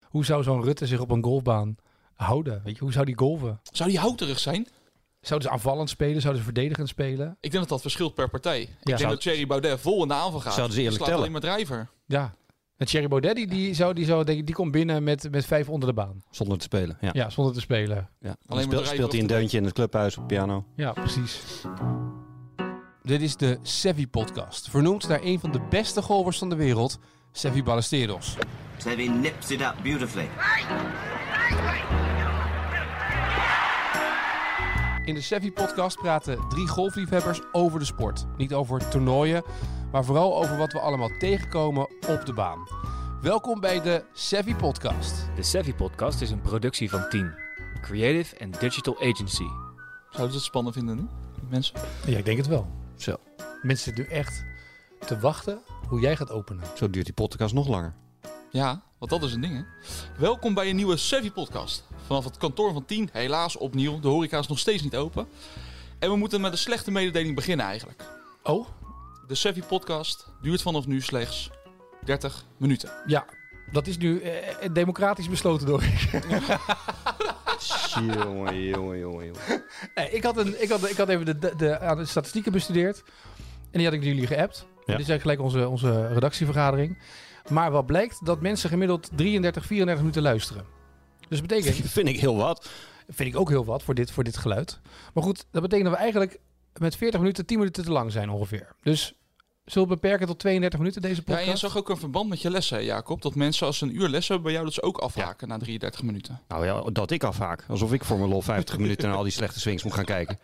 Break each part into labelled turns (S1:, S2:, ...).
S1: Hoe zou zo'n Rutte zich op een golfbaan houden? Weet je, hoe zou die golven?
S2: Zou die houterig zijn?
S1: Zouden ze aanvallend spelen? Zouden ze verdedigend spelen?
S2: Ik denk dat dat verschilt per partij. ik denk
S1: Zou-
S2: dat Thierry Baudet vol in de aanval gaat.
S3: Zouden ze eerlijk
S2: slaat
S3: tellen?
S2: alleen maar drijver.
S1: Ja. En Thierry Baudet, die, die, zou, die, zou, denk ik, die komt binnen met, met vijf onder de baan.
S3: Zonder te spelen. Ja.
S1: Ja, zonder te spelen.
S3: Ja.
S2: maar
S3: Dan speel-
S2: drijven
S3: speelt
S2: of
S3: hij een
S2: de-
S3: deuntje in het clubhuis op piano.
S1: Ja, precies.
S4: Dit is de Sevi Podcast, vernoemd naar een van de beste golfers van de wereld, Sevi Ballesteros.
S5: Sevi nips it up beautifully.
S4: In de Sevi Podcast praten drie golfliefhebbers over de sport. Niet over toernooien, maar vooral over wat we allemaal tegenkomen op de baan. Welkom bij de Sevi Podcast.
S6: De Savvy Podcast is een productie van Team, Creative and Digital Agency.
S2: Zouden ze het spannend vinden, niet? Die mensen?
S1: Ja, ik denk het wel.
S3: Zo.
S1: Mensen zitten nu echt te wachten hoe jij gaat openen.
S3: Zo duurt die podcast nog langer.
S2: Ja, want dat is een ding, hè? Welkom bij een nieuwe Sevi podcast Vanaf het kantoor van 10, helaas opnieuw. De horeca is nog steeds niet open. En we moeten met een slechte mededeling beginnen eigenlijk.
S1: Oh,
S2: De Sevi podcast duurt vanaf nu slechts 30 minuten.
S1: ja. Dat is nu eh, democratisch besloten door ik.
S3: jongen, jongen, jongen, jongen.
S1: Nee, ik, had een, ik, had, ik had even de, de, de- aan de statistieken bestudeerd. En die had ik jullie geappt.
S3: Ja.
S1: Dit is eigenlijk gelijk onze, onze redactievergadering. Maar wat blijkt? Dat mensen gemiddeld 33, 34 minuten luisteren. Dus dat betekent,
S3: Vind ik heel wat.
S1: vind ik ook heel wat voor dit, voor dit geluid. Maar goed, dat betekent dat we eigenlijk met 40 minuten 10 minuten te lang zijn ongeveer. Dus zullen we beperken tot 32 minuten deze
S2: Ja, en je
S1: podcast?
S2: zag ook een verband met je lessen, hè, Jacob. Dat mensen als ze een uur les hebben bij jou, dat ze ook afhaken na 33 minuten.
S3: Nou ja, dat ik afhaak. Alsof ik voor mijn lol 50 minuten naar al die slechte swings moet gaan kijken.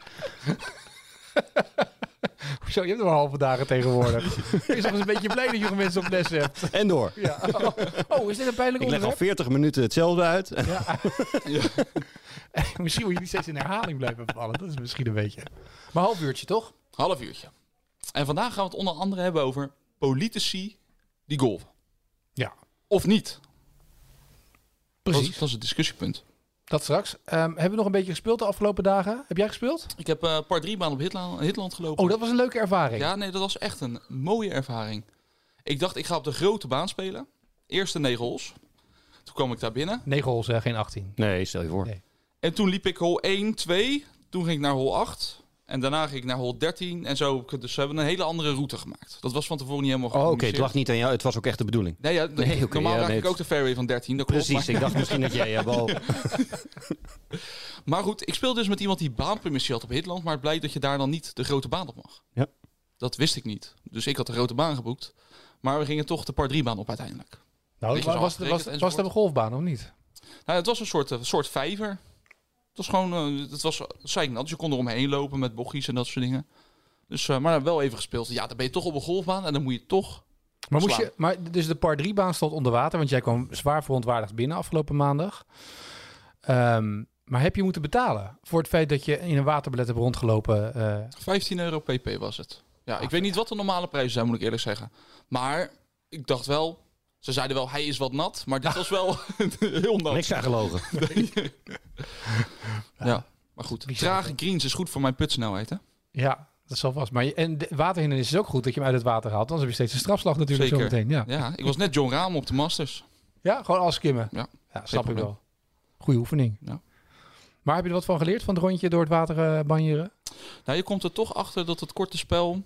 S1: Zo, je hebt nog halve dagen tegenwoordig. Wees nog eens een beetje blij dat je nog mensen op les hebt.
S3: En door.
S1: Ja. Oh, oh, is dit een pijnlijk
S3: Ik leg al
S1: onderwerp?
S3: 40 minuten hetzelfde uit.
S1: Eh, Misschien moet jullie steeds in herhaling blijven vallen. Dat is misschien een beetje. Maar half uurtje toch?
S2: Half uurtje. En vandaag gaan we het onder andere hebben over politici die golven.
S1: Ja,
S2: Of niet. Dat
S1: precies.
S2: is, dat is het discussiepunt.
S1: Dat straks. Ehm, hebben we nog een beetje gespeeld de afgelopen dagen? Heb jij gespeeld?
S2: Ik heb eh paar drie baan op Hitla- Hitland gelopen.
S1: Oh, dat was een leuke ervaring.
S2: Ja, nee, dat was echt een mooie ervaring. Ik dacht, ik ga op de grote baan spelen. Eerste negen holes. Toen kwam ik daar binnen.
S1: 9 holes, hè, geen 18.
S3: Nee, stel je voor.
S1: Nee.
S2: En toen liep ik hol 1, 2. Toen ging ik naar hol 8. En daarna ging ik naar hol 13. En zo. heb ik- Dus ze hebben een hele andere route gemaakt. Dat was van tevoren niet helemaal
S3: Oh, oké.
S2: gecommuniceerd.
S3: Het lag niet aan jou. Het was ook echt de bedoeling.
S2: Nee, ja,
S3: Nee, oké,
S2: normaal
S3: ja,
S2: raak
S3: nee,
S2: ik ook de fairway van 13. Dat klopt,
S3: Precies.
S2: maar-
S3: Ik dacht misschien dat jij eh, je bal...
S2: Maar goed, ik speelde dus met iemand die baanpermissie had op Hitland. Maar het blijkt dat je daar dan niet de grote baan op mag.
S3: Ja.
S2: Dat wist ik niet. Dus ik had de grote baan geboekt. Maar we gingen toch de par 3 baan op uiteindelijk.
S1: Nou,
S2: Weet je,
S1: was,
S2: zo
S1: was, was,
S2: afgerekend
S1: was, dat een golfbaan of niet?
S2: Nou, het was een soort, eh, soort vijver. Het was gewoon, eh, het was zeiknat. Dus je kon er omheen lopen met bochtjes en dat soort dingen. Dus, eh, maar wel even gespeeld. Ja, dan ben je toch op een golfbaan en dan moet je toch...
S1: Maar, moest
S2: Slaan.
S1: je, maar dus de par 3 baan stond onder water, want jij kwam zwaar verontwaardigd binnen afgelopen maandag. Ehm, maar heb je moeten betalen voor het feit dat je in een waterbelet hebt rondgelopen? eh,
S2: 15 euro pp was het. Ja, ik weet niet wat de normale prijzen zijn, moet ik eerlijk zeggen. Maar ik dacht wel... Ze zeiden wel, hij is wat nat. Maar dit was wel heel nat.
S3: Niks aan gelogen.
S2: Ja, maar goed. Trage greens is goed voor mijn putsnelheid, hè?
S1: ja, dat zal vast. Maar je, en de waterhindernis is ook goed dat je hem uit het water haalt, anders heb je steeds een strafslag natuurlijk
S2: Zeker.
S1: zo meteen. Ja.
S2: Ja, ik was net John Rahm op de Masters.
S1: ja, gewoon alles kimmen.
S2: Ja,
S1: Ja, snap ik
S2: probleem.
S1: wel. Goeie oefening.
S2: Ja.
S1: Maar heb je er wat van geleerd van het rondje door het water eh, banjeren?
S2: Nou, je komt er toch achter dat het korte spel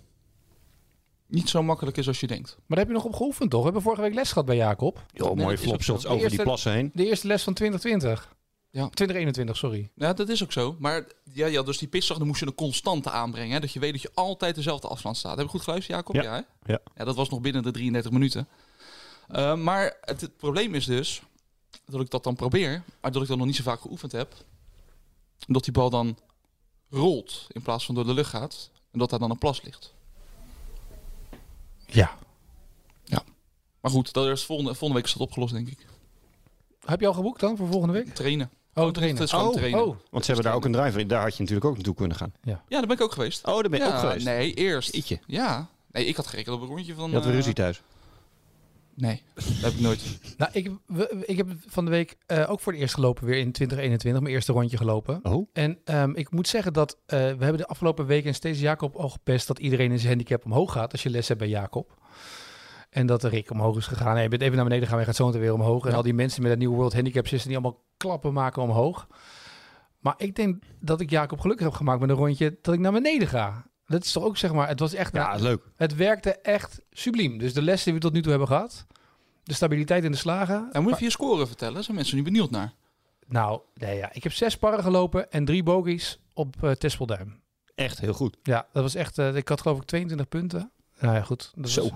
S2: niet zo makkelijk is als je denkt.
S1: Maar daar heb je nog op geoefend, toch? We hebben vorige week les gehad bij Jacob.
S3: Joh, mooie flopshots over die
S1: Eerste-
S3: plassen heen.
S1: De eerste les van 2020.
S2: Ja.
S1: 2021, sorry.
S2: Ja, dat is ook zo. Maar ja, ja dus die pitstag, dan moest je een constante aanbrengen. Hè? Dat je weet dat je altijd dezelfde afstand staat. Heb ik goed geluisterd, Jacob?
S3: Ja.
S2: hè?
S3: Ja.
S2: dat was nog binnen de 33 minuten. Eh, maar het, het probleem is dus dat ik dat dan probeer, maar dat ik dat nog niet zo vaak geoefend heb. Dat die bal dan rolt in plaats van door de lucht gaat. En dat daar dan een plas ligt.
S1: Ja.
S2: Maar goed, dat is volgende, volgende week is dat opgelost, denk ik.
S1: Heb je al geboekt dan voor volgende week?
S2: Trainen.
S1: Oh,
S2: Het
S1: trainen.
S2: is gewoon trainen.
S1: Oh,
S3: Want ze hebben daar ook een driver in. Daar had je natuurlijk ook naartoe kunnen gaan.
S2: Ja, daar ben ik ook geweest.
S3: Oh, daar ben je
S2: ja,
S3: ook geweest.
S2: Nee, eerst.
S3: Ietje.
S2: Ja. Nee, ik had gerekend op een rondje van...
S3: Je had weer
S2: eh,
S3: ruzie thuis.
S2: Nee, dat heb ik nooit.
S1: nou, ik, we- ik heb van de week eh, ook voor het eerst gelopen weer in 2021. Mijn eerste rondje gelopen.
S3: Oh?
S1: En ehm, ik moet zeggen dat eh, we hebben de afgelopen weken steeds Jacob al gepest dat iedereen in zijn handicap omhoog gaat als je les hebt bij Jacob. En dat de Rick omhoog is gegaan. Hey, je bent even naar beneden gaan, je gaat zo meteen weer omhoog. En al die mensen met dat nieuwe World Handicap System die allemaal klappen maken omhoog. Maar ik denk dat ik Jacob gelukkig heb gemaakt met een rondje dat ik naar beneden ga. Dat is toch ook zeg maar, het was echt,
S3: Ja, leuk.
S1: het werkte echt subliem. Dus de lessen die we tot nu toe hebben gehad, de stabiliteit in de slagen.
S2: En moet je je score vertellen? Zijn mensen nu benieuwd naar?
S1: Nou, nee, ja. ik heb zes parren gelopen en drie bogies op eh Tespelduim.
S3: Echt heel goed.
S1: Ja, dat was echt, eh, ik had geloof ik 22 punten. Nou ja, goed. Dat
S3: Zo.
S1: was-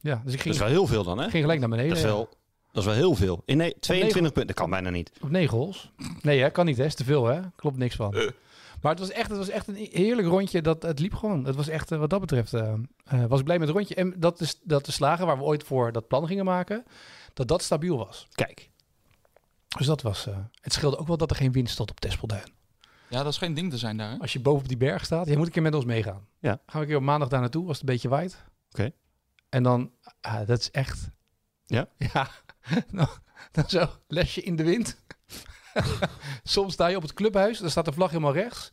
S1: ja, dus ik
S3: Dat
S1: ging,
S3: is wel heel veel dan, hè?
S1: ging gelijk naar beneden.
S3: Dat is
S1: ja.
S3: wel, dat is wel heel veel. In nee, 22
S1: negen.
S3: punten, dat kan bijna niet.
S1: Op negen holes? Nee, hè? kan niet, hè? Is te veel, hè? Klopt niks van. Maar het was, echt, het was echt een heerlijk rondje. Dat, het liep gewoon. Het was echt, eh, wat dat betreft, eh, eh, was ik blij met het rondje. En dat, is, dat de slagen waar we ooit voor dat plan gingen maken, dat dat stabiel was.
S3: Kijk.
S1: Dus dat was... eh, het scheelde ook wel dat er geen wind stond op Tespelduin.
S2: Ja, dat schijnt ding te zijn daar. hè?
S1: Als je boven op die berg staat, jij moet een keer met ons meegaan.
S3: Ja.
S1: Gaan we een keer op maandag daar naartoe, als het een beetje waait.
S3: Oké.
S1: En dan, ah, dat is echt...
S3: Ja?
S1: Ja. Nou, dan zo, lesje in de wind. Soms sta je op het clubhuis, dan staat de vlag helemaal rechts.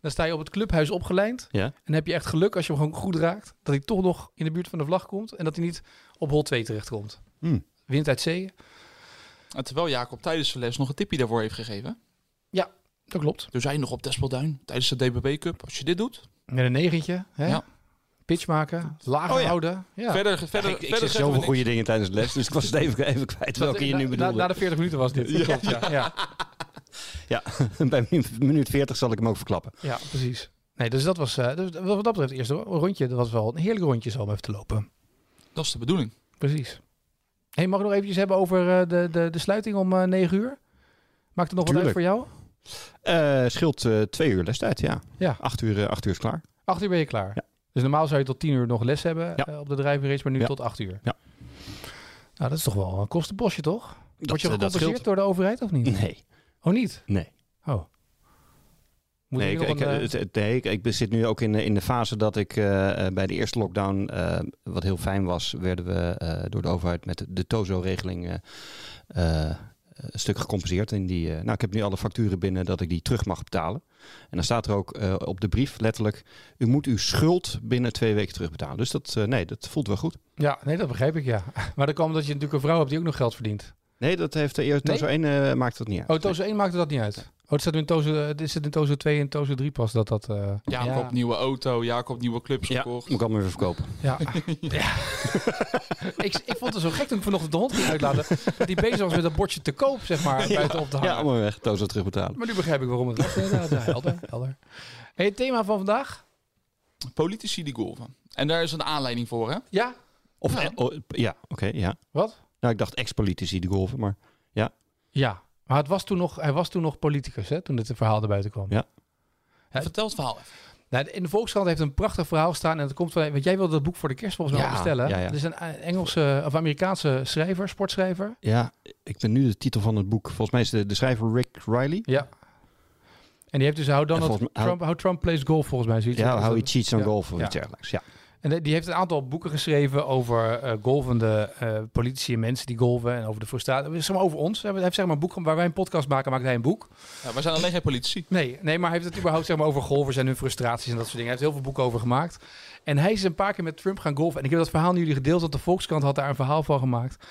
S1: Dan sta je op het clubhuis opgelijnd.
S3: Ja.
S1: En dan heb je echt geluk als je hem gewoon goed raakt, dat hij toch nog in de buurt van de vlag komt en dat hij niet op hol 2 terechtkomt.
S3: Hmm.
S1: Wind uit zee,
S2: En terwijl Jacob tijdens de les nog een tipje daarvoor heeft gegeven.
S1: dat klopt.
S2: Toen zei je nog op Despelduin tijdens de DBB Cup. Als je dit doet.
S1: Met een negentje, hè?
S2: Ja.
S1: pitch maken, lager
S3: Oh ja.
S1: houden. Ja.
S2: Verder, verder, verder
S3: ik ik zeg
S2: zeggen we
S3: zoveel
S2: niks.
S3: goede dingen tijdens de les, dus ik was het even, even kwijt welke je
S1: na,
S3: nu
S1: na-
S3: bedoelde.
S1: Na, de 40 minuten was dit. Ja, klopt, ja. Ja,
S3: Bij minu- minuut 40 zal ik hem ook verklappen.
S1: ja, precies. Nee, dus dat was eh, dus wat dat betreft het eerste rondje. Dat was wel een heerlijk rondje zo om even te lopen.
S2: Dat is de bedoeling.
S1: Precies. Hey, mag ik nog eventjes hebben over eh, de, de, de sluiting om eh 9 uur? Maakt het nog wat uit
S3: Tuurlijk.
S1: voor jou?
S3: Eh scheelt eh, twee uur lestijd, ja.
S1: Ja.
S3: Acht uur, eh, acht uur is klaar.
S1: 8 uur ben je klaar.
S3: Ja.
S1: Dus normaal zou je tot 10 uur nog les hebben
S3: Ja.
S1: eh, op de driving race, maar nu
S3: Ja.
S1: tot 8 uur.
S3: Ja.
S1: Nou, dat is toch wel een kostenbosje, toch? Word je
S3: eh,
S1: gecompenseerd door de overheid of niet?
S3: Nee,
S1: Oh, niet?
S3: nee.
S1: Oh. Moet
S3: Nee,
S1: ik
S3: ik,
S1: nog
S3: ik,
S1: een, eh,
S3: het- het- nee, ik, ik zit nu ook in, de- in de fase dat ik eh, eh, bij de eerste lockdown, eh, wat heel fijn was, werden we eh, door de overheid met de, de TOZO-regeling eh, eh, een stuk gecompenseerd. In die, eh, nou, ik heb nu alle facturen binnen dat ik die terug mag betalen. En dan staat er ook eh, op de brief letterlijk, u moet uw schuld binnen twee weken terugbetalen. Dus dat, eh, nee, dat voelt wel goed.
S1: Ja, nee, dat begrijp ik, ja. Maar dan kwam dat je natuurlijk een vrouw hebt die ook nog geld verdient.
S3: Nee, dat heeft de eerste
S1: Nee?
S3: TOZO 1 eh, maakt dat niet uit.
S1: Oh, Tozo 1 maakte dat niet uit. Oh, het zit in Tozo, eh, dit zit in Tozo 2 en Tozo 3 pas dat dat... eh,
S2: Jacob nieuwe auto, Jacob nieuwe clubs
S3: Ja,
S2: gekocht.
S3: moet ik allemaal weer verkopen.
S1: Ja. ja. ik, ik vond het zo gek toen ik vanochtend de hond ging uitlaten. Dat die bezig was met dat bordje te koop, zeg maar, buiten op te hangen.
S3: Ja, allemaal weg, TOZO terugbetalen.
S1: Maar nu begrijp ik waarom het was. inderdaad. Ja, helder, helder. Hey, het thema van vandaag?
S2: Politici die golven. En daar is een aanleiding voor, hè?
S1: Ja?
S3: Of,
S1: Nou.
S3: eh, oh, ja, oké, ja.
S1: Wat?
S3: Nou, ik dacht ex-politici die golven, maar
S1: Ja. Maar het was toen nog, hij was toen nog politicus, hè, toen dit verhaal erbuiten kwam.
S3: Ja.
S1: Ja.
S2: Vertel het verhaal even.
S1: Nou, in de Volkskrant heeft een prachtig verhaal staan. En dat komt van. Want jij wilde dat boek voor de kerst volgens mij
S3: Ja,
S1: bestellen.
S3: ja, ja.
S1: Het is een eh, Engelse of Amerikaanse schrijver, sportschrijver.
S3: Ja, ik ben nu de titel van het boek. Volgens mij is de, de schrijver Rick Riley.
S1: Ja. En die heeft dus How Donald
S3: volgens mij-
S1: Trump, how Trump Plays Golf volgens mij. Zoiets.
S3: Ja,
S1: Dat is
S3: How He
S1: dat-
S3: Cheats on
S1: ja,
S3: Golf of
S1: ja.
S3: iets dergelijks. Ja.
S1: En de- die heeft een aantal boeken geschreven over eh, golvende eh, politici en mensen die golven. En over de frustratie. Zeg maar over ons. Hij heeft zeg maar een boek waar wij een podcast maken, maakt hij een boek.
S2: Ja, wij zijn alleen geen politici.
S1: Nee, nee, maar hij heeft het überhaupt zeg maar, over golfers en hun frustraties en dat soort dingen. Hij heeft heel veel boeken over gemaakt. En hij is een paar keer met Trump gaan golfen. En ik heb dat verhaal nu jullie gedeeld, want de Volkskrant had daar een verhaal van gemaakt.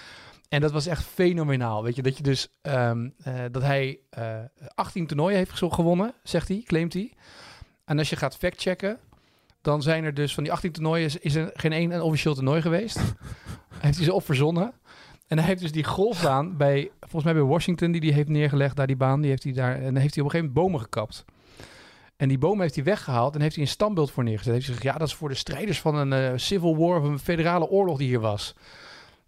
S1: En dat was echt fenomenaal. Weet je, dat je dus ehm, eh, dat hij eh 18 toernooien heeft gezo- gewonnen, zegt hij, claimt hij. En als je gaat factchecken, dan zijn er dus van die 18 toernooien is, is er geen één een officieel toernooi geweest. Hij heeft hij ze op verzonnen. En hij heeft dus die golfbaan bij, volgens mij bij Washington, die die heeft neergelegd, daar die baan, die heeft hij daar, en dan heeft hij op een gegeven moment bomen gekapt. En die bomen heeft hij weggehaald en heeft hij een standbeeld voor neergezet. Heeft hij gezegd, ja, dat is voor de strijders van een eh, civil war of een federale oorlog die hier was.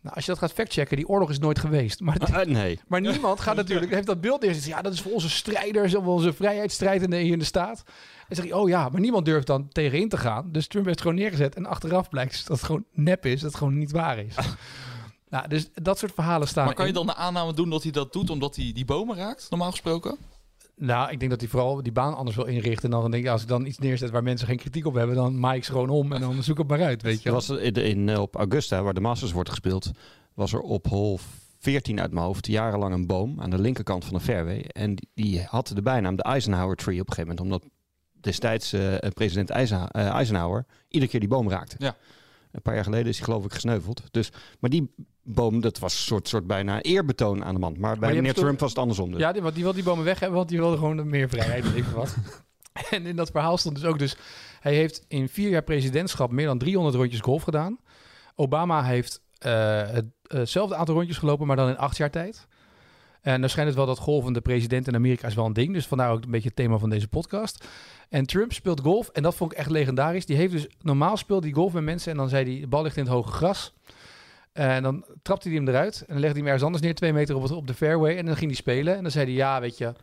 S1: Nou, als je dat gaat factchecken, die oorlog is nooit geweest. Maar,
S3: Eh, nee.
S1: maar niemand gaat natuurlijk, heeft dat beeld neergezet. Ja, dat is voor onze strijders, of onze vrijheidsstrijdenden hier in de staat. En zeg je, oh ja, maar niemand durft dan tegenin te gaan. Dus Trump heeft het gewoon neergezet. En achteraf blijkt dus dat het gewoon nep is, dat het gewoon niet waar is. Nou, dus dat soort verhalen staan.
S2: Maar kan je
S1: in-
S2: dan de aanname doen dat hij dat doet omdat hij die bomen raakt, normaal gesproken?
S1: Nou, ik denk dat hij vooral die baan anders wil inrichten. En dan denk ik, als ik dan iets neerzet waar mensen geen kritiek op hebben, dan maai ik ze gewoon om en dan zoek het maar uit, weet je
S3: Er
S1: wel.
S3: was in, in, eh, op Augusta, waar de Masters wordt gespeeld, was er op hol 14 uit mijn hoofd jarenlang een boom aan de linkerkant van de fairway. En die, die had de bijnaam de Eisenhower Tree op een gegeven moment, omdat destijds eh, president Eisen- eh, Eisenhower iedere keer die boom raakte.
S2: Ja.
S3: Een paar jaar geleden is hij geloof ik gesneuveld. Dus, maar die boom, dat was een soort, soort bijna eerbetoon aan de man. Maar bij
S1: je hebt
S3: meneer
S1: toch-
S3: Trump was het andersom. Dus.
S1: Ja, die, want die wil die bomen weg hebben, want die wilde gewoon meer vrijheid. weet ik veel wat. En in dat verhaal stond dus ook dus... Hij heeft in vier jaar presidentschap meer dan 300 rondjes golf gedaan. Obama heeft eh, het, hetzelfde aantal rondjes gelopen, maar dan in acht jaar tijd. En dan schijnt het wel dat golven de president in Amerika is wel een ding. Dus vandaar ook een beetje het thema van deze podcast. En Trump speelt golf en dat vond ik echt legendarisch. Die heeft dus normaal speelt hij golf met mensen en dan zei hij, de bal ligt in het hoge gras. En dan trapte hij hem eruit en dan legde hij hem ergens anders neer, twee meter op, het, op de fairway. En dan ging hij spelen en dan zei hij, ja, weet je,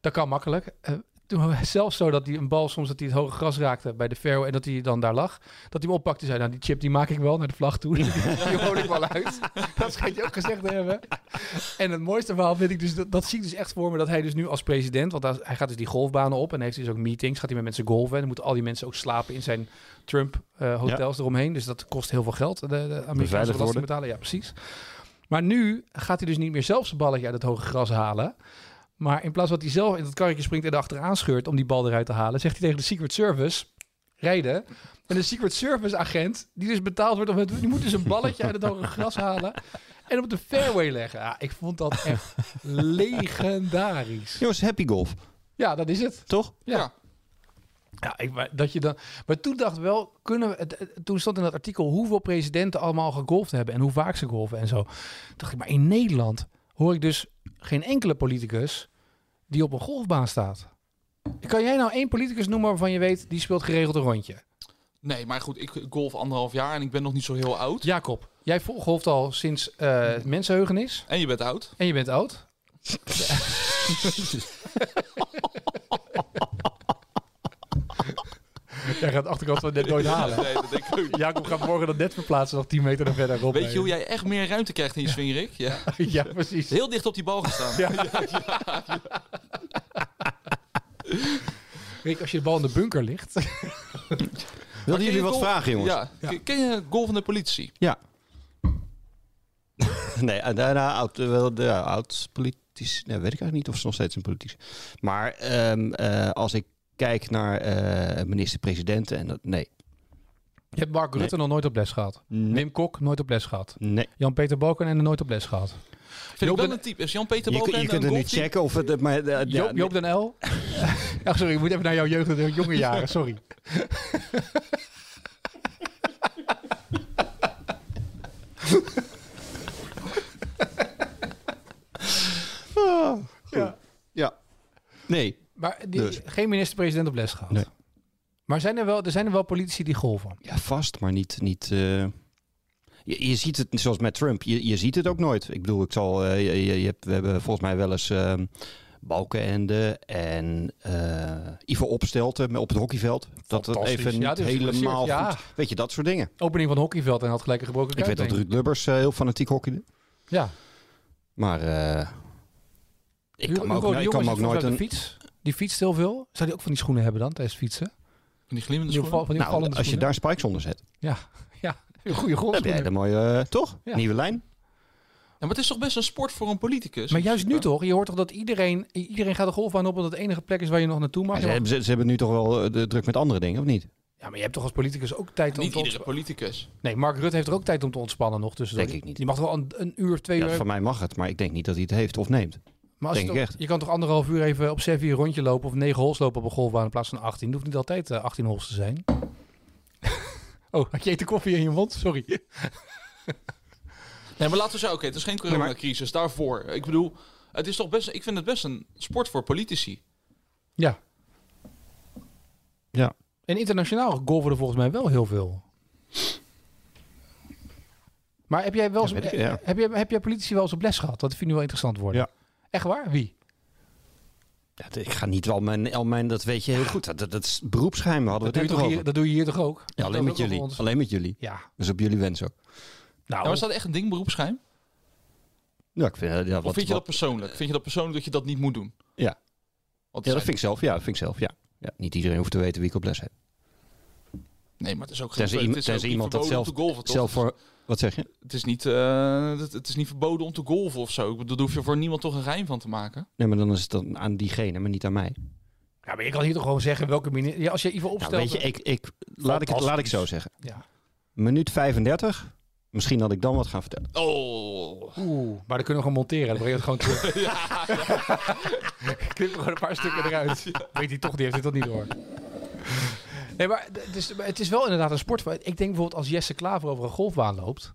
S1: dat kan makkelijk. Eh, toen was het zelfs zo dat hij een bal soms dat hij het hoge gras raakte bij de fairway en dat hij dan daar lag. Dat hij hem oppakte en zei, nou die chip die maak ik wel naar de vlag toe. Die, die hol ik wel uit. Dat schijnt je ook gezegd te hebben. En het mooiste verhaal vind ik dus, dat, dat zie ik dus echt voor me, dat hij dus nu als president, want daar- hij gaat dus die golfbanen op en heeft dus ook meetings, gaat hij met mensen golven. En dan moeten al die mensen ook slapen in zijn Trump eh, hotels eromheen. Dus dat kost heel veel geld, de, de Amerikaanse
S3: Beveiligd
S1: belasting
S3: worden.
S1: betalen. Ja, precies. Maar nu gaat hij dus niet meer zelf zijn balletje uit het hoge gras halen. Maar in plaats van dat hij zelf in dat karretje springt en erachteraan scheurt om die bal eruit te halen, zegt hij tegen de Secret Service: rijden. En de Secret Service agent, die dus betaald wordt om het. Die moet dus een balletje uit het hoge gras halen. En op de fairway leggen. Ja, ik vond dat echt legendarisch.
S3: Jongens, happy golf,
S1: Ja, dat is het.
S3: toch?
S1: Ja. Ja, ik, maar, dat je dan, maar toen dacht ik wel, kunnen we, het- het- toen stond in dat artikel hoeveel presidenten allemaal gegolfd hebben en hoe vaak ze golven en zo. Toen dacht ik, maar in Nederland hoor ik dus geen enkele politicus die op een golfbaan staat. Kan jij nou één politicus noemen waarvan je weet, die speelt geregeld een rondje?
S2: Nee, maar goed, ik golf anderhalf jaar en ik ben nog niet zo heel oud.
S1: Jacob, jij vol- golft al sinds eh mensenheugenis
S2: En je bent oud.
S1: en je bent oud. jij gaat de achterkant van net nooit halen.
S2: Nee, dat denk ik ook.
S1: Jacob gaat morgen dat net verplaatsen, nog 10 meter naar verder op.
S2: Weet je hoe jij echt meer ruimte krijgt in je swing, Rick? Ja.
S1: Ja, precies.
S2: Heel dicht op die bal gestaan.
S1: Rick, als je de bal in de bunker ligt.
S3: Wilden jullie wat vragen, jongens?
S2: Ja. Ken- Ken je golvende politie?
S3: Ja. nee, eh, daarna oud, eh, wel, de ja, oud politisch. Nee, weet ik eigenlijk niet of ze nog steeds een politici. Maar ehm, eh, als ik kijk naar eh minister-presidenten en dat. Nee.
S1: Je hebt Mark Rutte nog nooit op les gehad.
S3: Nee.
S1: Wim Kok nooit op les gehad.
S3: nee.
S1: Jan-Peter Balken en nooit op les gehad. Joop
S2: Vind ik wel
S1: den-
S2: een type. Is Jan-Peter
S3: Je, kun-
S2: Balken
S3: je
S2: een
S3: kunt er nu
S2: golftype?
S3: checken of het. eh, Maar, eh, ja,
S1: Joop, Joop den L. Ach, sorry, ik moet even naar jouw jeugd en jonge jaren. Sorry.
S3: ja. Nee.
S1: Maar die,
S3: Dus.
S1: geen minister-president op les gehad.
S3: Nee.
S1: Maar zijn er, wel, er zijn er wel politici die golven.
S3: Ja, vast, maar niet. niet eh, je, je ziet het, zoals met Trump, je, je ziet het ook nooit. Ik bedoel, ik zal, eh, je, je- je hebt, we hebben volgens mij wel eens ehm Balkenende en eh Ivo Opstelten met- op het hockeyveld. Dat het
S1: Fantastisch.
S3: even
S1: Ja,
S3: niet
S1: die is
S3: helemaal goed...
S1: geblesseerd, ja.
S3: Weet je, dat soort dingen.
S1: Opening van hockeyveld en had gelijk een gebroken
S3: Ik weet dat
S1: kuitbeen.
S3: Ruud Lubbers eh, heel fanatiek hockeyde.
S1: Ja.
S3: Maar eh, ik
S1: Hugo-
S3: kan me ook,
S1: Hugo de Jong
S3: ik kan me
S1: is
S3: ook
S1: volgens
S3: nooit
S1: mij op
S3: een...
S1: de fiets. Die fietst heel veel. Zou die ook van die schoenen hebben dan tijdens fietsen?
S2: Die glimmende
S1: Die
S2: schoenen.
S1: val- van die
S3: Nou,
S1: opvallende
S3: als je
S1: schoenen?
S3: daar spikes onder zet,
S1: Ja, goede
S3: heb jij
S1: golfschoenen.
S3: een mooie, eh, toch?
S1: Ja.
S3: Nieuwe lijn.
S2: Ja, maar het is toch best een sport voor een politicus?
S1: Maar
S2: in
S1: juist nu
S2: principe?
S1: toch? Je hoort toch dat iedereen, iedereen gaat de golfbaan op... omdat het enige plek is waar je nog naartoe mag?
S3: Maar ze, hebben- ze, ze hebben nu toch wel eh, de druk met andere dingen, of niet?
S1: Ja, maar je hebt toch als politicus ook tijd om
S2: Niet
S1: te
S2: iedere
S1: ontspannen?
S2: politicus.
S1: Nee, Mark Rutte heeft er ook tijd om te ontspannen nog tussendoor.
S3: Denk ik niet.
S1: Je mag wel een, een uur of twee
S3: Ja,
S1: uur...
S3: van mij mag het, maar ik denk niet dat hij het heeft of neemt.
S1: maar als
S3: denk
S1: het
S3: ik
S1: ook-
S3: echt.
S1: Je kan toch anderhalf uur even op Sevi een rondje lopen... of negen hols lopen op een golfbaan in plaats van 18. Het hoeft niet altijd eh, 18 hols te zijn. oh, had je eten koffie in je mond? Sorry.
S2: Nee, maar laten we zeggen, oké, het is geen coronacrisis, daarvoor. Ik bedoel, het is toch best, ik vind het best een sport voor politici.
S1: Ja.
S3: Ja.
S1: En internationaal golven er volgens mij wel heel veel. Maar heb jij wel eens,
S3: Ja, weet ik, ja.
S1: heb, jij, heb jij politici wel eens op les gehad? Dat vind ik nu wel interessant worden.
S3: Ja.
S1: Echt waar? Wie?
S3: Ja, ik ga niet al mijn, al mijn, dat weet je heel goed. Dat, dat, dat is beroepsgeheim, hadden
S1: Dat
S3: we
S1: doe,
S3: het
S1: je
S3: net
S1: toch hier, dat
S3: toch
S1: doe je hier toch ook?
S3: Ja, alleen
S1: Dat
S3: met
S1: ook over
S3: jullie.
S1: ons.
S3: Alleen met jullie.
S1: Ja.
S3: Dus op jullie wens ook.
S1: Nou,
S2: Ja, maar is dat echt een ding, beroepsgeheim?
S3: Ja, ik vind, eh, ja, wat,
S2: Of vind je dat
S3: wat-
S2: persoonlijk? Vind je dat persoonlijk dat je dat niet moet doen?
S3: Ja.
S2: Want
S3: ja,
S2: het
S3: dat
S2: zijn-
S3: vind ik zelf. Ja, dat vind ik zelf. Ja. Ja, niet iedereen hoeft te weten wie ik op les heb.
S2: Nee, maar het is ook geen...
S3: Tenzij
S2: het
S3: iemand,
S2: is
S3: tenzij
S2: ook niet
S3: iemand dat
S2: verboden
S3: zelf,
S2: om te golven, toch?
S3: zelf voor... Wat zeg je?
S2: Het is, niet, eh, het, het is niet verboden om te golven of zo. Ik bedoel, daar hoef je voor niemand toch een geheim van te maken.
S3: Nee, maar dan is het dan aan diegene, maar niet aan mij.
S1: ja, maar je kan hier toch gewoon zeggen welke minister... Ja, als je even
S3: Nou,
S1: opstelt...
S3: weet je, ik, ik, laat, ik het, laat ik het zo zeggen.
S1: Ja.
S3: Minuut 35. Misschien had ik dan wat gaan vertellen.
S2: Oh.
S1: Oeh, maar dan kunnen we gewoon monteren. Dan breng je het gewoon terug. Ik knip er gewoon een paar stukken eruit. Weet hij toch, die heeft dit toch niet door. Nee, maar d- het is, maar het is wel inderdaad een sport. Ik denk bijvoorbeeld als Jesse Klaver over een golfbaan loopt.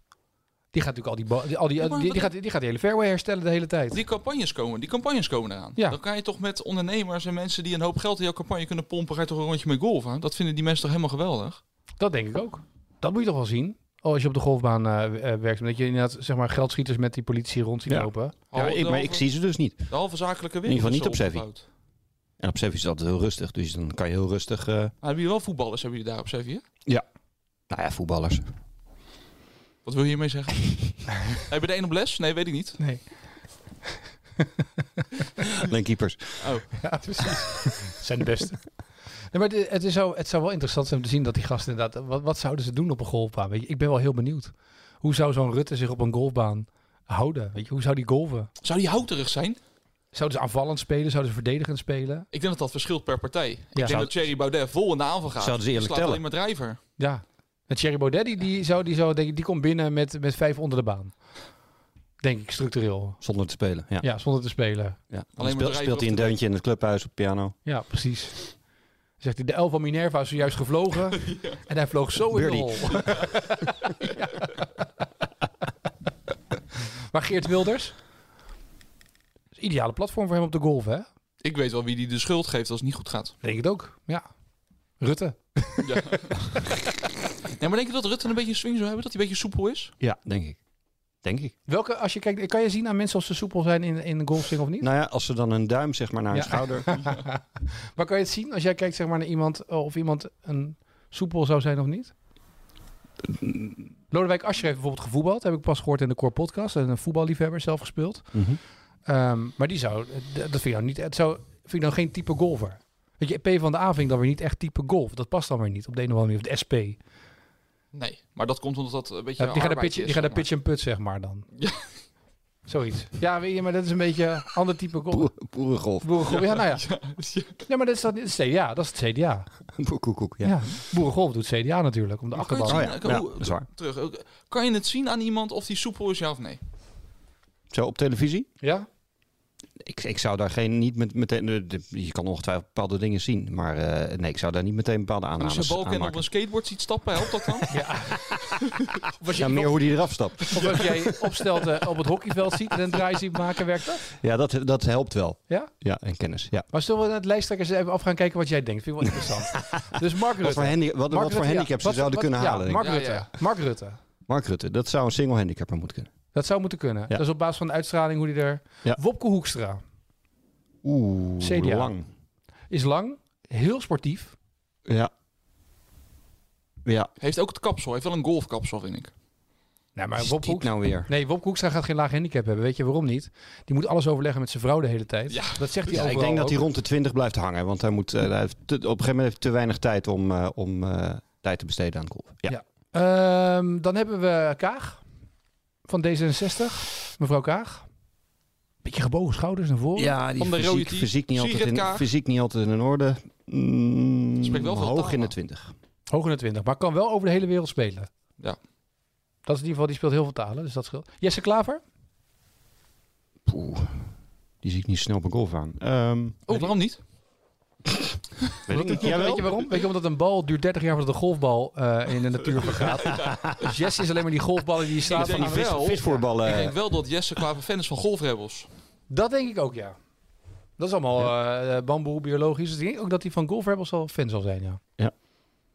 S1: Die gaat natuurlijk al die, ba- die- al die,
S2: Ja, maar
S1: die, die
S2: wat-
S1: gaat, die gaat de hele fairway herstellen de hele tijd.
S2: Die campagnes komen, die campagnes komen eraan.
S1: Ja.
S2: Dan kan je toch met ondernemers en mensen die een hoop geld in jouw campagne kunnen pompen, ga je toch een rondje mee golven. Dat vinden die mensen toch helemaal geweldig.
S1: Dat denk ik ook. Dat moet je toch wel zien. Oh, als je op de golfbaan eh, w- eh, werkt. Dat je inderdaad zeg maar, geldschieters met die politie rond ziet
S3: Ja.
S1: lopen.
S3: Ja,
S2: Halve-
S3: ik, maar ik zie ze dus niet.
S2: De halve zakelijke
S3: In
S2: wereld.
S3: ieder geval
S2: is
S3: niet
S2: zo
S3: op Sevi.
S2: opgebouwd.
S3: En op Sevi is het altijd heel rustig. Dus dan kan je heel rustig... eh,
S2: Maar Nou, hebben jullie wel voetballers hebben jullie daar op Sevi? hè?
S3: nou ja, voetballers.
S2: Wat wil je hiermee zeggen? Hebben de een op les? Nee, weet ik niet.
S1: Nee.
S3: Alleen keepers.
S1: Ja, precies. zijn de beste. Nee, maar het, het, is zo, het zou wel interessant zijn om te zien dat die gasten inderdaad... Wat, wat zouden ze doen op een golfbaan? Weet je, ik ben wel heel benieuwd. Hoe zou zo'n Rutte zich op een golfbaan houden? Weet je, hoe zou die golven?
S2: Zou die houterig zijn?
S1: Zouden ze aanvallend spelen? Zouden ze verdedigend spelen?
S2: Ik denk dat dat verschilt per partij. Ik denk
S1: Zou-
S2: dat Thierry Baudet vol in de aanval gaat.
S3: Zouden ze eerlijk
S2: slaat
S3: tellen?
S2: alleen maar drijver.
S1: Ja. En Thierry Baudet, die, die, zou, die, zou, denk ik, die komt binnen met, met vijf onder de baan. Denk ik, structureel.
S3: Zonder te spelen. Ja.
S1: Ja, zonder te spelen.
S3: Ja.
S2: maar
S3: Dan speelt,
S2: drijven
S3: speelt
S2: op
S3: hij een
S2: de-
S3: deuntje in het clubhuis op piano.
S1: Ja, precies. Zegt hij, de elf van Minerva is zojuist gevlogen. En hij vloog zo in de
S3: Birdie.
S1: hol. Ja. Maar Geert Wilders? is een ideale platform voor hem op de golf, hè?
S2: Ik weet wel wie die de schuld geeft als het niet goed gaat.
S1: Denk het ook, ja. Rutte.
S2: Ja. nee, maar denk je dat Rutte een beetje een swing zou hebben? Dat hij een beetje soepel is?
S3: Ja, denk ik. Denk ik.
S1: Welke, als je kijkt, kan je zien aan mensen of ze soepel zijn in, in een golfswing of niet?
S3: Nou ja, als ze dan hun duim zeg maar naar hun
S1: Ja.
S3: schouder...
S1: Maar kan je het zien als jij kijkt zeg maar, naar iemand eh, of iemand een soepel zou zijn of niet? Lodewijk Asscher heeft bijvoorbeeld gevoetbald. Heb ik pas gehoord in de Core Podcast. En een voetballiefhebber zelf gespeeld.
S3: Mhm.
S1: Ehm, maar die zou, d- dat vind ik nou niet, het zou, vind ik nou geen type golfer. Weet je, P van de A vind ik dan weer niet echt type golf. Dat past dan weer niet op de een of andere manier. Of de SP.
S2: Nee. Maar dat komt omdat dat een beetje
S1: Ja, die gaan
S2: arbeid
S1: daar pitchen,
S2: is,
S1: die gaan daar
S2: zeg
S1: pitchen
S2: maar.
S1: en put zeg maar dan.
S2: Ja.
S1: Zoiets. Ja, weet je, maar dat is een beetje ander type golf.
S3: Boer- Boerengolf.
S1: Boerengolf. Ja, nou ja.
S2: Ja.
S1: Nee, maar dat is dat niet. Het CDA, dat is het CDA.
S3: Boerkoekoek,
S1: Ja.
S3: ja.
S1: Boerengolf doet CDA natuurlijk, om de
S2: Maar kan je
S1: achterban.
S2: het
S3: achterban.
S2: zien-
S3: Oh
S2: kan-
S3: ja, ja, dat is waar.
S2: Terug. ook- Kan je het zien aan iemand of die soepel is, ja of nee?
S3: Zo op televisie?
S1: Ja?
S3: Ik, ik zou daar geen, niet met, meteen, eh, de- je kan ongetwijfeld bepaalde dingen zien, maar eh, nee, ik zou daar niet meteen bepaalde
S2: En als je
S3: aannames aan
S2: balken op
S3: maken.
S2: een skateboard ziet stappen, helpt dat dan?
S1: Of,
S3: Ja, meer hoe die eraf stapt.
S1: of als jij opstelt eh, op het hockeyveld ziet en een draai ziet maken, werkt dat?
S3: Ja, dat, dat helpt wel.
S1: Ja?
S3: Ja, en kennis. Ja.
S1: Maar zullen we naar het lijsttrekkers even af gaan kijken wat jij denkt? Vind ik wel interessant. dus Mark Rutte.
S3: Wat voor, handi- wat,
S1: Mark
S3: wat voor
S1: Rutte, ja.
S3: handicaps
S1: Wat-
S3: ze zouden
S1: wat-
S3: kunnen
S1: ja,
S3: halen, denk ik.
S1: Mark
S2: Ja, ja,
S1: Rutte.
S2: ja.
S1: Mark Rutte.
S3: Mark Rutte, dat zou een single handicapper moeten kunnen.
S1: Dat zou moeten kunnen. Dat is op basis van de uitstraling hoe die er...
S3: Ja.
S1: Wopke Hoekstra
S3: Oeh,
S1: CDA.
S3: lang.
S1: is lang, heel sportief.
S3: Ja. Ja,
S2: Heeft ook het kapsel. Heeft wel een golfkapsel, vind ik.
S1: Nou,
S3: maar
S1: maar
S3: wat
S1: Wopke
S3: dit
S1: Hoekstra...
S3: nou weer?
S1: Nee, Wopke Hoekstra gaat geen laag handicap hebben. Weet je waarom niet? Die moet alles overleggen met zijn vrouw de hele tijd.
S2: Ja.
S1: Dat zegt hij
S3: Ja, ik
S1: overal
S3: denk dat hij
S1: ook.
S3: rond de 20 blijft hangen, want hij moet, eh, hij heeft te- op een gegeven moment heeft hij te weinig tijd om, eh, om eh, tijd te besteden aan golf. Ja.
S1: Ja. Ehm, dan hebben we Kaag van D66. Mevrouw Kaag. Beetje gebogen schouders naar voren.
S3: Ja, die
S2: Van de rode
S3: fysiek,
S2: tee.
S3: fysiek, niet altijd
S2: Sigrid
S3: in,
S2: Kaag.
S3: fysiek niet altijd in orde. Mm,
S2: Spreekt wel veel
S3: hoog
S2: taal,
S3: in de
S2: maar.
S3: 20.
S1: Hoog in de 20, maar kan wel over de hele wereld spelen.
S2: Ja.
S1: Dat is in ieder geval, die speelt heel veel talen, dus dat scheelt. Jesse Klaver?
S3: Poeh, die zie ik niet snel op een golf aan. Ehm,
S2: Oh, waarom niet?
S3: weet ik niet.
S1: Weet je waarom? Weet je omdat een bal duurt 30 jaar voordat de golfbal eh, in de natuur vergaat. Dus Jesse is alleen maar die golfballen die staan.
S2: denk
S3: Van die
S2: ik wel.
S3: vis, visvoerballen.
S2: Ik denk wel dat Jesse Klaver fan is van golfrebels.
S1: Dat denk ik ook, ja. Dat is allemaal eh, eh, bamboe, biologisch. Dus ik denk ook dat hij van golfhebbers al fan zal zijn, ja.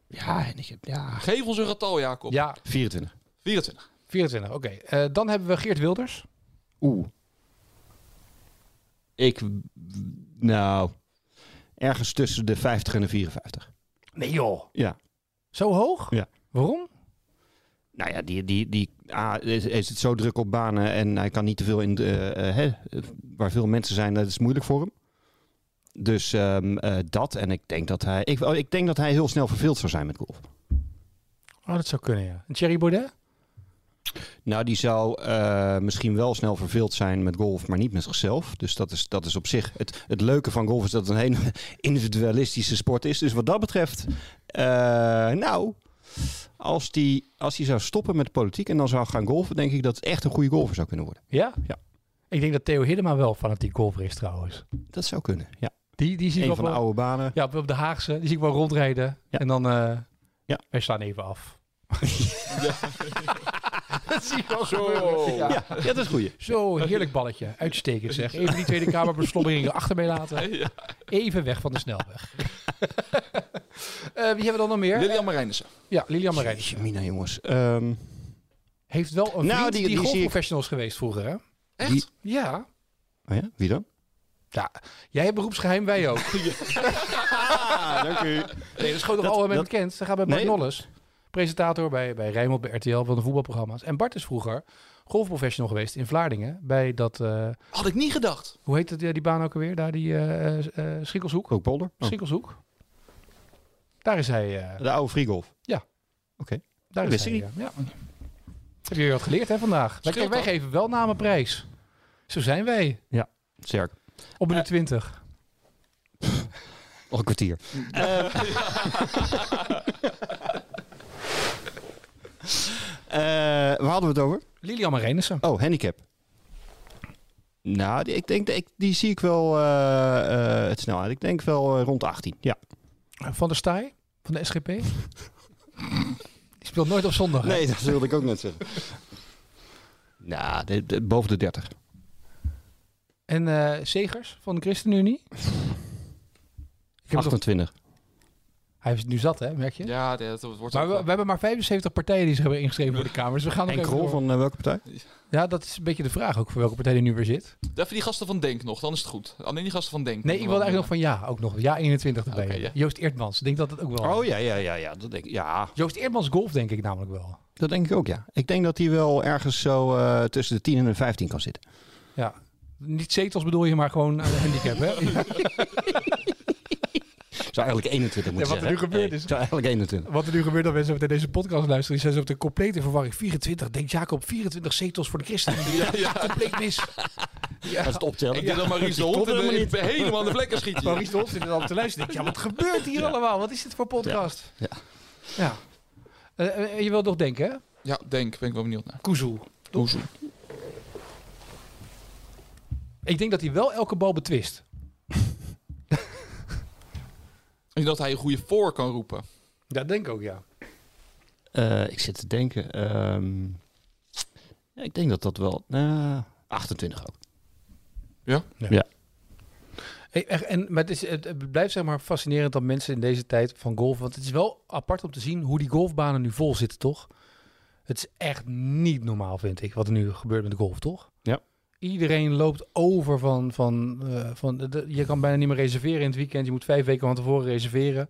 S3: Ja, en ik heb- ja,
S2: Geef ons een getal, Jacob.
S1: Ja,
S3: 24.
S2: 24.
S1: 24, oké. Eh, dan hebben we Geert Wilders.
S3: Oeh. Ik, nou, ergens tussen de 50 en de 54.
S1: Nee joh.
S3: Ja.
S1: Zo hoog?
S3: Ja.
S1: Waarom?
S3: Nou ja, die, die, die A, is, is het zo druk op banen en hij kan niet te veel in. de, eh, eh, hè, waar veel mensen zijn, dat is moeilijk voor hem. Dus ehm, eh, dat en ik denk dat hij. Ik, oh, ik denk dat hij heel snel verveeld zou zijn met golf.
S1: Oh, dat zou kunnen, ja. En Thierry Baudet?
S3: Nou, die zou eh, misschien wel snel verveeld zijn met golf, maar niet met zichzelf. Dus dat is, dat is op zich. Het, het leuke van golf is dat het een hele individualistische sport is. Dus wat dat betreft, eh, nou, Als die, als die zou stoppen met de politiek en dan zou gaan golven, denk ik dat het echt een goede golfer zou kunnen worden.
S1: Ja?
S3: Ja.
S1: Ik denk dat Theo Hiddema wel fanatiek golfer is trouwens.
S3: Dat zou kunnen. Ja.
S1: Die, die zie ik
S3: Een
S1: wel
S3: van de
S1: wel-
S3: oude banen.
S1: Ja, op- op de Haagse. Die zie ik wel rondrijden.
S3: Ja.
S1: En dan... eh
S3: Ja.
S1: Wij staan even af.
S3: Dat zie ik
S2: Zo.
S3: Ja, ja, dat is een goeie.
S1: Zo, heerlijk balletje. Uitstekend zeg. Even die Tweede Kamer beslommeringen achter mij laten.
S2: Ja.
S1: Even weg van de snelweg. Eh, wie hebben we dan nog meer?
S2: Lilian Marijnissen.
S1: Ja, Lilian Marijn.
S3: Jeetje, Mina, jongens. Ehm,
S1: Heeft wel een
S3: Nou,
S1: vriend die,
S3: die- die zie ik-
S1: golfprofessional is geweest vroeger, hè?
S2: Echt?
S3: Die-
S1: Ja.
S3: oh ja, wie dan?
S1: Ja, jij hebt beroepsgeheim, wij ook.
S3: Ah, dank u.
S1: Nee, dat is gewoon nog
S3: Dat-
S1: algemeen
S3: dat-
S1: bekend. Ze gaan bij Bart
S3: Nee.
S1: Nolles, presentator bij, bij Rijnmond, bij RTL, van de voetbalprogramma's. En Bart is vroeger golfprofessional geweest in Vlaardingen. Bij dat, eh,
S2: Had ik niet gedacht.
S1: hoe heet het, ja, die baan ook alweer? Daar, die eh eh, Schikkelshoek.
S3: Ook Boulder? Oh,
S1: Schikkelshoek. Daar is hij. eh,
S3: de oude Freegolf.
S1: daar is
S3: wist
S1: hij
S3: ik
S1: eh, ja. Heb je weer wat geleerd hè, vandaag? Wij,
S2: Scheelt
S1: wij
S2: dat?
S1: geven wel namen prijs. Zo zijn wij.
S3: Sterk.
S1: Op
S3: Eh.
S1: minuut 20.
S3: Nog een kwartier. Eh, waar hadden we het over?
S1: Lilian Marijnissen.
S3: Oh, handicap. Nou, die, ik denk, dat ik, die zie ik wel eh, eh, het snelheid. Ik denk wel eh, rond de 18. Ja.
S1: Van der Staaij, van de SGP. die speelt nooit op zondag. hè?
S3: Nee, dat wilde ik ook net zeggen. nou, de, de- boven de 30.
S1: En eh Segers van de ChristenUnie? Ik heb het op-
S3: 28.
S1: hij is nu zat, hè, merk je?
S2: Ja, dat wordt
S1: Maar we,
S2: ook,
S1: we hebben maar 75 partijen die zich hebben ingeschreven voor de Kamer. Dus we gaan nog
S3: En
S1: even
S3: Krol
S1: door.
S3: van eh, welke partij?
S1: Ja, dat is een beetje de vraag ook voor welke partij die nu weer zit.
S2: eh, Even die gasten van Denk nog, dan is het goed. Alleen die gasten van Denk.
S1: Nee, ik wilde eigenlijk nog van ja, ook nog. Ja, 21 erbij.
S2: Oké, ja.
S1: Joost Eertmans, ik denk dat het ook wel.
S3: Oh ja, ja, ja, ja. Dat denk ik. Ja,
S1: Joost Eertmans golf denk ik namelijk wel.
S3: dat denk ik ook, ja. Ik denk dat hij wel ergens zo eh, tussen de 10 en de 15 kan zitten.
S1: Ja. Niet zetels bedoel je, maar gewoon aan de handicap, hè? Ja.
S3: Zou eigenlijk 21 moeten
S1: Ja, wat er
S3: zeggen.
S1: nu gebeurd
S3: Nee,
S1: is.
S3: Zou eigenlijk 21.
S1: Wat er nu gebeurt, dat mensen meteen deze podcast luisteren, die zijn ze op de complete verwarring. 24, denkt Jacob, 24 zetels voor de ChristenUnie. Ja, compleet mis. Ja.
S3: Dat is het optellen.
S2: Ik denk dat Maurice de
S3: Die
S2: Hond
S3: kon helemaal niet.
S2: er helemaal aan de vlekken schiet. hier.
S1: Maurice de Hond zit er dan te luisteren. Ik denk, ja, wat gebeurt hier allemaal? Wat is dit voor podcast?
S3: Ja.
S1: ja. Eh, eh, je wilt nog denken, hè?
S2: Ja, Denk, ben ik wel benieuwd naar.
S1: Kuzu.
S2: Hoezo?
S1: Ik denk dat hij wel elke bal betwist.
S2: En dat hij een goede voor kan roepen.
S1: Dat denk ik ook, ja.
S3: Eh, ik zit te denken. ehm, ja, ik denk dat dat wel. nou, 28 ook.
S1: Hey, echt, en, maar het, is, het, het blijft zeg maar fascinerend dat mensen in deze tijd van golf... Want het is wel apart om te zien hoe die golfbanen nu vol zitten, toch? Het is echt niet normaal, vind ik, wat er nu gebeurt met de golf, toch?
S3: Ja.
S1: Iedereen loopt over van... van, eh, van de- de- je kan bijna niet meer reserveren in het weekend. Je moet vijf weken van tevoren reserveren.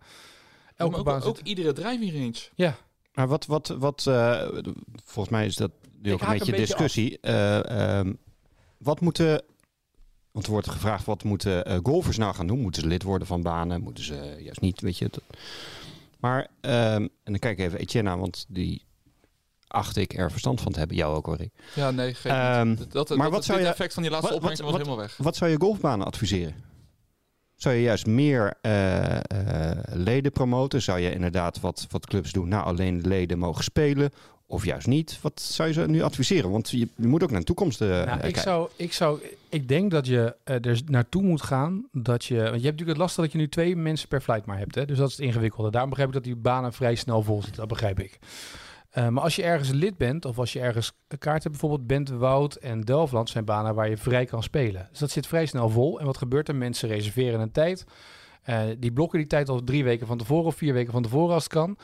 S1: Elke
S2: maar ook,
S1: baan
S2: ook iedere driving range.
S3: Maar wat, wat, wat eh, volgens mij is dat nu ook
S1: haak
S3: een
S1: een
S3: beetje
S1: beetje
S3: discussie. Eh, ehm, wat moeten, want er wordt gevraagd, wat moeten eh, golfers nou gaan doen? Moeten ze lid worden van banen? Moeten ze eh, juist niet, weet je. dat- Maar, ehm, en dan kijk ik even Etienne aan, want die acht ik er verstand van te hebben. Jou ook hoor, Rick.
S2: Ja, nee, geen.
S3: Ehm,
S2: dat, dat,
S3: maar
S2: dat-
S3: wat zou
S2: dit
S3: je-
S2: effect van die laatste
S3: wat-
S2: opmerking
S3: wat-
S2: was helemaal weg.
S3: Wat zou je golfbanen adviseren? Zou je juist meer eh, eh, leden promoten? Zou je inderdaad wat, wat clubs doen? Nou, alleen leden mogen spelen. Of juist niet. Wat zou je ze nu adviseren? Want je, je moet ook naar de toekomst eh,
S1: Nou, ik,
S3: kijken.
S1: zou, ik, zou, ik denk dat je eh, er naartoe moet gaan dat je... Want je hebt natuurlijk het lastig dat je nu twee mensen per flight maar hebt. Hè? Dus dat is het ingewikkelde. Daarom begrijp ik dat die banen vrij snel vol zitten. Dat begrijp ik. Eh, maar als je ergens lid bent of als je ergens een kaart hebt... bijvoorbeeld Bent Woud en Delftland zijn banen waar je vrij kan spelen. Dus dat zit vrij snel vol. En wat gebeurt er? Mensen reserveren een tijd. Eh, die blokken die tijd al drie weken van tevoren of vier weken van tevoren als het kan.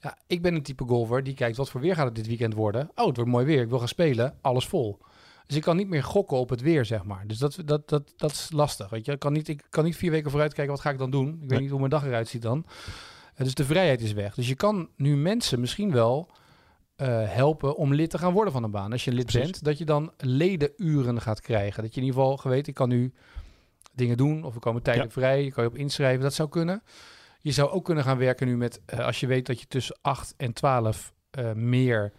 S1: Ja, ik ben een type golfer die kijkt wat voor weer gaat het dit weekend worden. Oh, het wordt mooi weer. Ik wil gaan spelen. Alles vol. Dus ik kan niet meer gokken op het weer, zeg maar. Dus dat, dat, dat, dat is lastig. Weet je? Ik, kan niet, ik kan niet vier weken vooruit kijken, wat ga ik dan doen? Ik weet
S3: Nee.
S1: niet hoe mijn dag eruit ziet dan. Eh, dus de vrijheid is weg. Dus je kan nu mensen misschien wel eh, helpen om lid te gaan worden van een baan. Als je lid
S3: Precies.
S1: bent, dat je dan ledenuren gaat krijgen. Dat je in ieder geval weet, ik kan nu dingen doen. Of er komen tijden
S3: Ja.
S1: vrij, je kan je op inschrijven. Dat zou kunnen. Je zou ook kunnen gaan werken nu met, eh, als je weet dat je tussen 8 en 12 eh, meer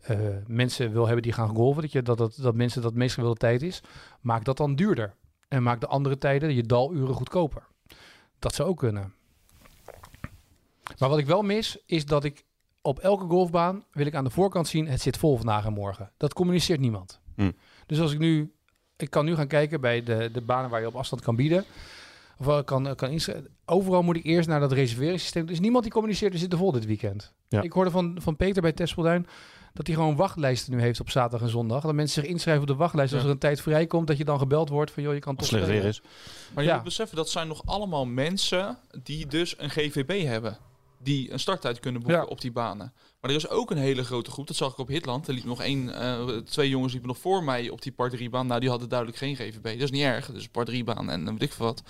S1: eh, mensen wil hebben die gaan golven. Dat, je, dat, dat, dat mensen dat meest gewilde tijd is. Maak dat dan duurder. En maak de andere tijden, je daluren, goedkoper. Dat zou ook kunnen. Maar wat ik wel mis, is dat ik op elke golfbaan wil ik aan de voorkant zien, het zit vol vandaag en morgen. Dat communiceert niemand.
S3: Hm.
S1: Dus als ik nu, ik kan nu gaan kijken bij de, de banen waar je op afstand kan bieden. Of eh, kan, kan inschrijven. Overal moet ik eerst naar dat reserveringssysteem. Er is niemand die communiceert, er zit er vol dit weekend.
S3: Ja.
S1: Ik hoorde van, van Peter bij Tespelduin dat hij gewoon wachtlijsten nu heeft op zaterdag en zondag. Dat mensen zich inschrijven op de wachtlijst. Als
S2: Ja.
S1: er een tijd vrijkomt, dat je dan gebeld wordt van joh, je kan
S3: Als
S1: toch...
S3: slecht weer
S1: spelen.
S3: is.
S2: Maar je
S1: Ja.
S2: moet beseffen, dat zijn nog allemaal mensen die dus een GVB hebben. Die een starttijd kunnen boeken
S1: Ja.
S2: op die banen. Maar er is ook een hele grote groep, dat zag ik op Hitland. Er liepen nog één, eh, twee jongens liepen nog voor mij op die par 3 baan. Nou, die hadden duidelijk geen GVB. Dat is niet erg, dus par 3 baan en eh, weet ik veel wat.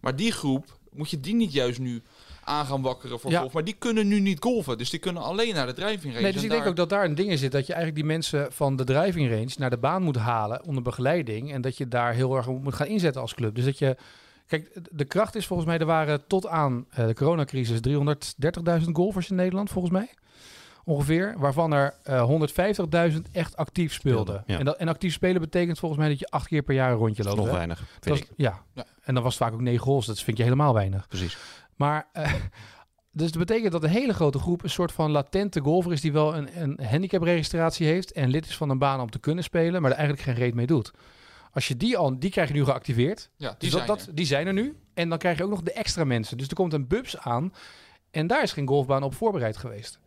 S2: Maar die groep, moet je die niet juist nu aan gaan wakkeren voor
S1: Ja.
S2: golf. Maar die kunnen nu niet golven, dus die kunnen alleen naar de drijving
S1: Nee, dus ik denk ook dat daar een ding in zit. Dat je eigenlijk die mensen van de driving range naar de baan moet halen onder begeleiding. En dat je daar heel erg op moet gaan inzetten als club. Dus dat je... Kijk, de kracht is volgens mij, er waren tot aan eh, de coronacrisis 330.000 golfers in Nederland, volgens mij. Ongeveer. Waarvan er eh, 150.000 echt actief speelden.
S3: Speelden, ja.
S1: En, dat, en actief spelen betekent volgens mij dat je acht keer per jaar een rondje
S3: Dat
S1: loopt.
S3: is nog
S1: hè?
S3: weinig, vind
S1: Dat
S3: ik.
S1: was- ja.
S2: Ja.
S1: en dan was het vaak ook negen goals. Dat vind je helemaal weinig.
S3: Precies.
S1: Maar, eh, dus dat betekent dat een hele grote groep een soort van latente golfer is die wel een, een handicapregistratie heeft en lid is van een baan om te kunnen spelen, maar er eigenlijk geen reet mee doet. Als je die al, die krijg je nu geactiveerd.
S2: Ja, die
S1: Dus
S2: zijn
S1: dat, dat,
S2: er.
S1: die zijn er nu. En dan krijg je ook nog de extra mensen. Dus er komt een bubs aan. En daar is geen golfbaan op voorbereid geweest.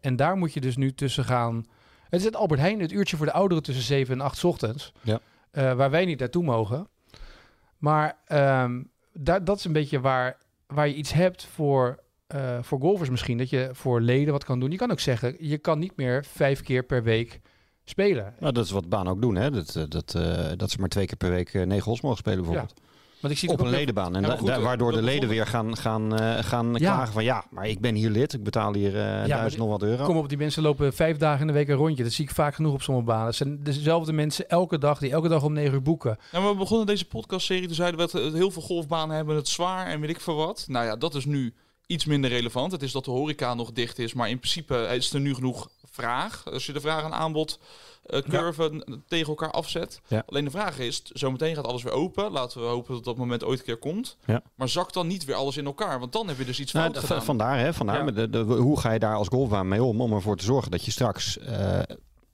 S1: En daar moet je dus nu tussen gaan. Het is het Albert Heijn, het uurtje voor de ouderen tussen 7 en 8 's ochtends.
S3: Ja.
S1: Eh, waar wij niet naartoe mogen. Maar ehm, daar, dat is een beetje waar, waar je iets hebt voor, eh, voor golfers misschien. Dat je voor leden wat kan doen. Je kan ook zeggen, je kan niet meer vijf keer per week spelen.
S3: Nou, dat is wat banen ook doen, hè? Dat, eh, dat, eh, dat ze maar twee keer per week eh, negen hols mogen spelen, bijvoorbeeld.
S1: Want ik zie
S3: Op
S1: ook
S3: een
S1: weer-
S3: ledenbaan.
S2: Ja,
S3: En
S2: maar
S3: da-
S2: goed,
S3: da-
S2: eh,
S3: waardoor de
S2: dat
S3: leden weer
S2: bijvoorbeeld-
S3: gaan, gaan, eh, gaan
S1: Ja.
S3: klagen van... ja, maar ik ben hier lid, ik betaal hier eh duizend
S1: die-
S3: nog wat euro.
S1: Kom op, die mensen lopen vijf dagen in de week een rondje. Dat zie ik vaak genoeg op sommige banen. Het zijn dezelfde mensen elke dag die elke dag om negen uur boeken.
S2: Ja, maar Nou, we begonnen deze podcastserie, toen zeiden we dat eh, heel veel golfbanen hebben het zwaar en weet ik veel wat. Nou ja, dat is nu iets minder relevant. Het is dat de horeca nog dicht is, maar in principe is er nu genoeg vraag. Als je de vraag en aanbod eh curve n- tegen elkaar afzet.
S3: Ja.
S2: Alleen de vraag is, t- zometeen gaat alles weer open. Laten we hopen dat dat moment ooit een keer komt.
S3: Ja.
S2: Maar zak dan niet weer alles in elkaar, want dan heb je dus iets
S3: Nou,
S2: fout
S3: d-
S2: gedaan.
S3: v- vandaar, hè? Vandaar.
S2: Ja.
S3: Maar de- de- hoe ga je daar als golfbaan mee om? Om ervoor te zorgen dat je straks, eh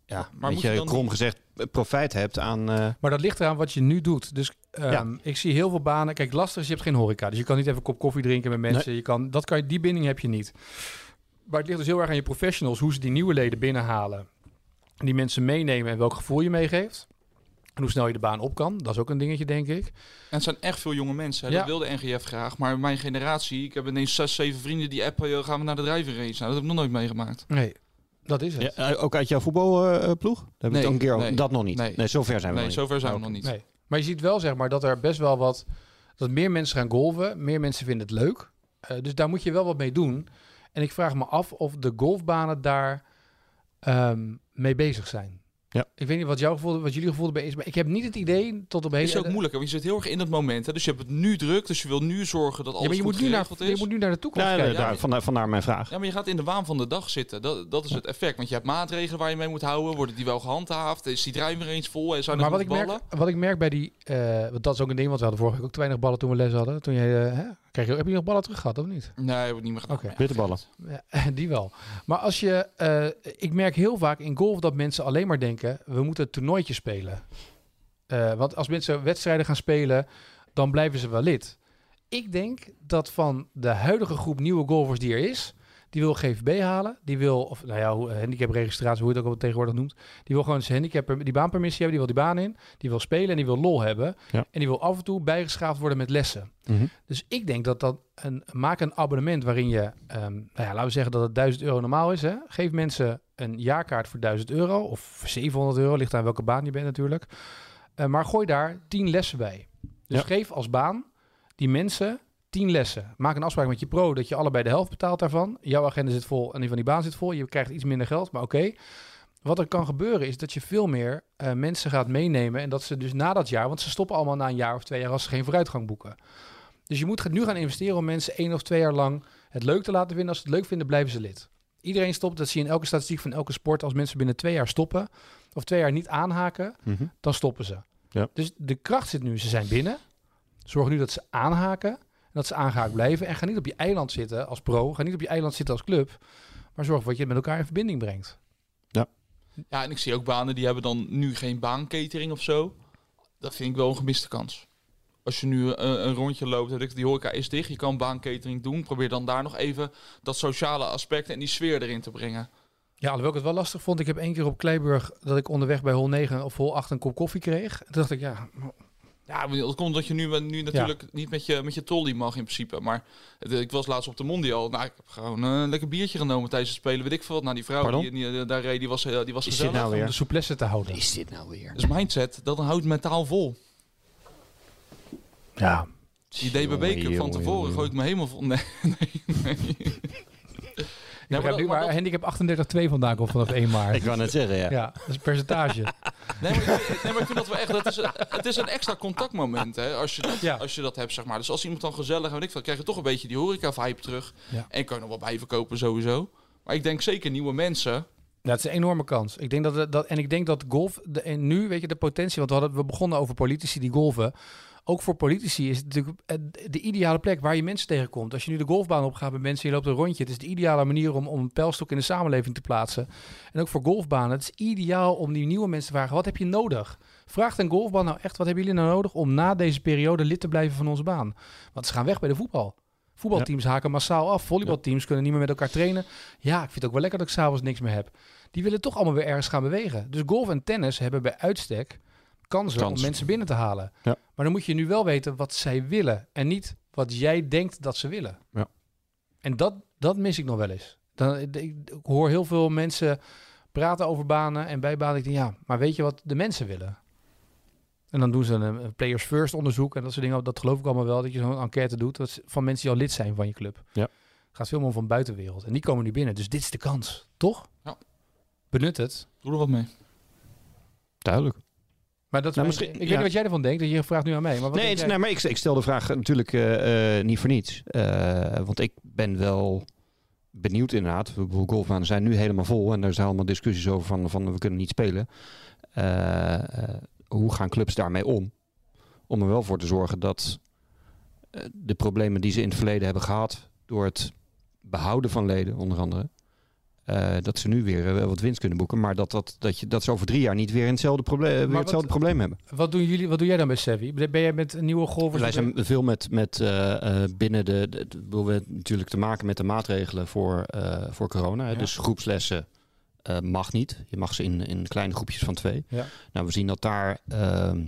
S3: ja,
S2: moet
S3: weet
S2: je
S3: je,
S2: dan-
S3: krom gezegd, eh, profijt hebt aan... eh,
S1: Maar dat ligt eraan wat je nu doet. Dus ehm,
S3: Ja.
S1: ik zie heel veel banen. Kijk, lastig is, je hebt geen horeca. Dus je kan niet even een kop koffie drinken met mensen. Je kan, dat kan, je- die binding heb je niet. Maar het ligt dus heel erg aan je professionals. Hoe ze die nieuwe leden binnenhalen. Die mensen meenemen en welk gevoel je meegeeft. En hoe snel je de baan op kan. Dat is ook een dingetje, denk ik.
S2: En het zijn echt veel jonge mensen. Hè?
S1: Ja.
S2: Dat wil de NGF graag. Maar mijn generatie, ik heb ineens zes, zeven vrienden die appen, joh, gaan we naar de drijven race. Nou, dat heb ik nog nooit meegemaakt.
S1: Nee, dat is het.
S3: ja, eh, ook uit jouw voetbalploeg? Daar hebben we
S2: Nee,
S3: het ook een keer over.
S2: nee.
S3: Dat nog niet.
S2: Nee.
S3: Nee, zover zijn we
S2: Nee,
S3: nog niet.
S2: zover zijn we
S3: Nou, Oké.
S2: nog niet.
S1: Nee. Maar je ziet wel, zeg maar, dat er best wel wat... dat meer mensen gaan golven, meer mensen vinden het leuk. Eh, dus daar moet je wel wat mee doen. En ik vraag me af of de golfbanen daar ehm, mee bezig zijn.
S3: Ja.
S1: Ik weet niet wat, jouw gevoel, wat jullie gevoel erbij is, maar ik heb niet het idee tot op
S2: Het
S1: heden...
S2: is ook moeilijk, hè, want je zit heel erg in het moment. Hè? Dus je hebt het nu druk, dus je wil nu zorgen dat alles
S1: Ja, maar je,
S2: goed
S1: moet nu naar,
S2: geregeld
S1: je
S2: is.
S1: moet nu naar de toekomst
S3: Ja,
S1: kijken.
S3: Nou, daar-
S2: ja.
S3: vandaar, vandaar mijn vraag.
S2: Ja, maar je gaat in de waan van de dag zitten. Dat, dat is het effect. Want je hebt maatregelen waar je mee moet houden. Worden die wel gehandhaafd? Is die drijver eens vol? En zijn er
S1: maar wat ik,
S2: genoeg
S1: merk,
S2: ballen?
S1: wat ik merk bij die... eh, want dat is ook een ding, want we hadden vorige week ook te weinig ballen toen we les hadden. Toen jij, eh, hè? Krijg je, heb je nog ballen terug gehad, of niet?
S2: Nee, dat wordt niet meer gedaan.
S1: Oké.
S3: Witte ballen.
S1: Ja, Eh, die wel. Maar als je, eh, ik merk heel vaak in golf dat mensen alleen maar denken: we moeten toernooitjes spelen. Eh, want als mensen wedstrijden gaan spelen, dan blijven ze wel lid. Ik denk dat van de huidige groep nieuwe golfers die er is, die wil GVB halen, die wil, of nou ja, hoe- handicapregistratie, hoe je het ook al tegenwoordig noemt, die wil gewoon zijn handicap, die baanpermissie hebben, die wil die baan in, die wil spelen en die wil lol hebben.
S3: Ja.
S1: En die wil af en toe bijgeschaafd worden met lessen.
S3: Mhm.
S1: Dus ik denk dat dat een maak een abonnement waarin je, ehm, nou ja, laten we zeggen dat het 1000 euro normaal is. Hè? Geef mensen een jaarkaart voor 1000 euro of 700 euro, ligt aan welke baan je bent natuurlijk. Eh, maar gooi daar 10 lessen bij. Dus
S3: Ja.
S1: geef als baan die mensen 10 lessen. Maak een afspraak met je pro dat je allebei de helft betaalt daarvan. Jouw agenda zit vol en die van die baan zit vol. Je krijgt iets minder geld, maar oké. Wat er kan gebeuren is dat je veel meer eh, mensen gaat meenemen. En dat ze dus na dat jaar, want ze stoppen allemaal na een jaar of twee jaar als ze geen vooruitgang boeken. Dus je moet gaan- nu gaan investeren om mensen één of twee jaar lang het leuk te laten vinden. Als ze het leuk vinden, blijven ze lid. Iedereen stopt, dat zie je in elke statistiek van elke sport. Als mensen binnen twee jaar stoppen of twee jaar niet aanhaken,
S3: Mhm.
S1: dan stoppen ze.
S3: Ja.
S1: Dus de kracht zit nu, ze zijn binnen. Zorg nu dat ze aanhaken en dat ze aangehaakt blijven. En ga niet op je eiland zitten als pro, ga niet op je eiland zitten als club. Maar zorg dat je het met elkaar in verbinding brengt.
S2: Ja, en ik zie ook banen die hebben dan nu geen baancatering of zo. Dat vind ik wel een gemiste kans. Als je nu eh, een rondje loopt, weet ik, die horeca is dicht, je kan baancatering doen. Probeer dan daar nog even dat sociale aspect en die sfeer erin te brengen.
S1: Ja, alhoewel ik het wel lastig vond. Ik heb één keer op Kleiburg dat ik onderweg bij hol 9 of hol 8 een kop koffie kreeg. En toen dacht ik, ja,
S2: Ja, maar dat komt omdat je nu, nu natuurlijk niet met je, met je trolley mag in principe. Maar het- ik was laatst op de Mondial. Nou, ik heb gewoon eh, een lekker biertje genomen tijdens het spelen. Weet ik veel wat. Nou, die vrouw
S3: Pardon?
S2: die, die daar reed, die was, eh, die was
S3: Is dit
S2: gezellig.
S3: nou
S1: om de
S3: weer?
S1: souplesse te houden.
S3: Is dit nou weer?
S2: Dus mindset, dat houdt mentaal vol.
S1: Ja,
S2: Die DBB-cup van tevoren gooit me helemaal vol. Nee, nee,
S1: ik
S2: nee. maar
S1: begrijp
S2: dat-
S1: nu
S2: maar
S1: waar handicap 38-2 vandaan komt vanaf 1 maart.
S3: Ik wou net zeggen, ja.
S1: Ja, dat is percentage.
S2: Nee, maar, nee, maar ik vind dat wel echt. Dat is, het is een extra contactmoment hè, als, je dat,
S1: Ja.
S2: als je dat hebt, zeg maar. Dus als iemand dan gezellig en weet ik veel, krijg je toch een beetje die horeca-vibe terug.
S1: Ja.
S2: En kan je nog wat bij verkopen sowieso. Maar ik denk zeker nieuwe mensen.
S1: Nou, het is een enorme kans. Ik denk dat, het- dat, en ik denk dat golf, de, en nu weet je de potentie, want we, hadden, we begonnen over politici die golven. Ook voor politici is het natuurlijk eh, de ideale plek waar je mensen tegenkomt. Als je nu de golfbaan opgaat met mensen, je loopt een rondje. Het is de ideale manier om, om een pijlstok in de samenleving te plaatsen. En ook voor golfbanen. Het is ideaal om die nieuwe mensen te vragen, wat heb je nodig? Vraagt een golfbaan nou echt, wat hebben jullie nou nodig om na deze periode lid te blijven van onze baan? Want ze gaan weg bij de voetbal. Voetbalteams haken massaal af. Volleybalteams kunnen niet meer met elkaar trainen. Ja, ik vind het ook wel lekker dat ik s'avonds niks meer heb die willen toch allemaal weer ergens gaan bewegen. Dus golf en tennis hebben bij uitstek kansen
S3: Kans.
S1: om mensen binnen te halen.
S3: Ja.
S1: Maar dan moet je nu wel weten wat zij willen en niet wat jij denkt dat ze willen.
S3: Ja.
S1: En dat, dat mis ik nog wel eens. Dan, ik, ik hoor heel veel mensen praten over banen en bij banen. Ik denk, ja, maar weet je wat de mensen willen? En dan doen ze een, een players first onderzoek en dat soort dingen. Dat geloof ik allemaal wel, dat je zo'n enquête doet dat is van mensen die al lid zijn van je club.
S3: Ja.
S1: Gaat veel meer van buitenwereld. En die komen nu binnen. Dus dit is de kans, toch?
S2: Ja.
S1: Benut het.
S2: Doe er wat mee.
S3: Duidelijk.
S1: Maar dat is
S3: Nou,
S1: mijn-
S3: misschien-
S1: ik weet
S3: ja.
S1: niet wat jij ervan denkt, dat je vraagt nu aan mij. Maar wat
S3: nee,
S1: denk
S3: het-
S1: jij?
S3: nee, maar ik, ik stel de vraag eh, natuurlijk eh, eh, niet voor niets. Eh, want ik ben wel benieuwd inderdaad. Ik bedoel, Golfbanen zijn nu helemaal vol en daar zijn allemaal discussies over van, van we kunnen niet spelen. Eh, eh, hoe gaan clubs daarmee om? Om er wel voor te zorgen dat eh, de problemen die ze in het verleden hebben gehad door het behouden van leden onder andere, eh, dat ze nu weer eh, wel wat winst kunnen boeken. Maar dat, dat, dat, je, dat ze over drie jaar niet weer, hetzelfde probleem, weer
S1: wat-
S3: hetzelfde probleem hebben.
S1: Wat doen jullie? Wat doe jij dan bij Sevi? Ben jij met een nieuwe golfers?
S3: Wij zijn veel met, met eh, eh, binnen de, de, de- bedoel, we hebben natuurlijk te maken met de maatregelen voor, eh, voor corona. hè.
S1: Ja.
S3: Dus groepslessen eh, mag niet. Je mag ze in, in kleine groepjes van twee.
S1: Ja.
S3: Nou, we zien dat daar, ehm,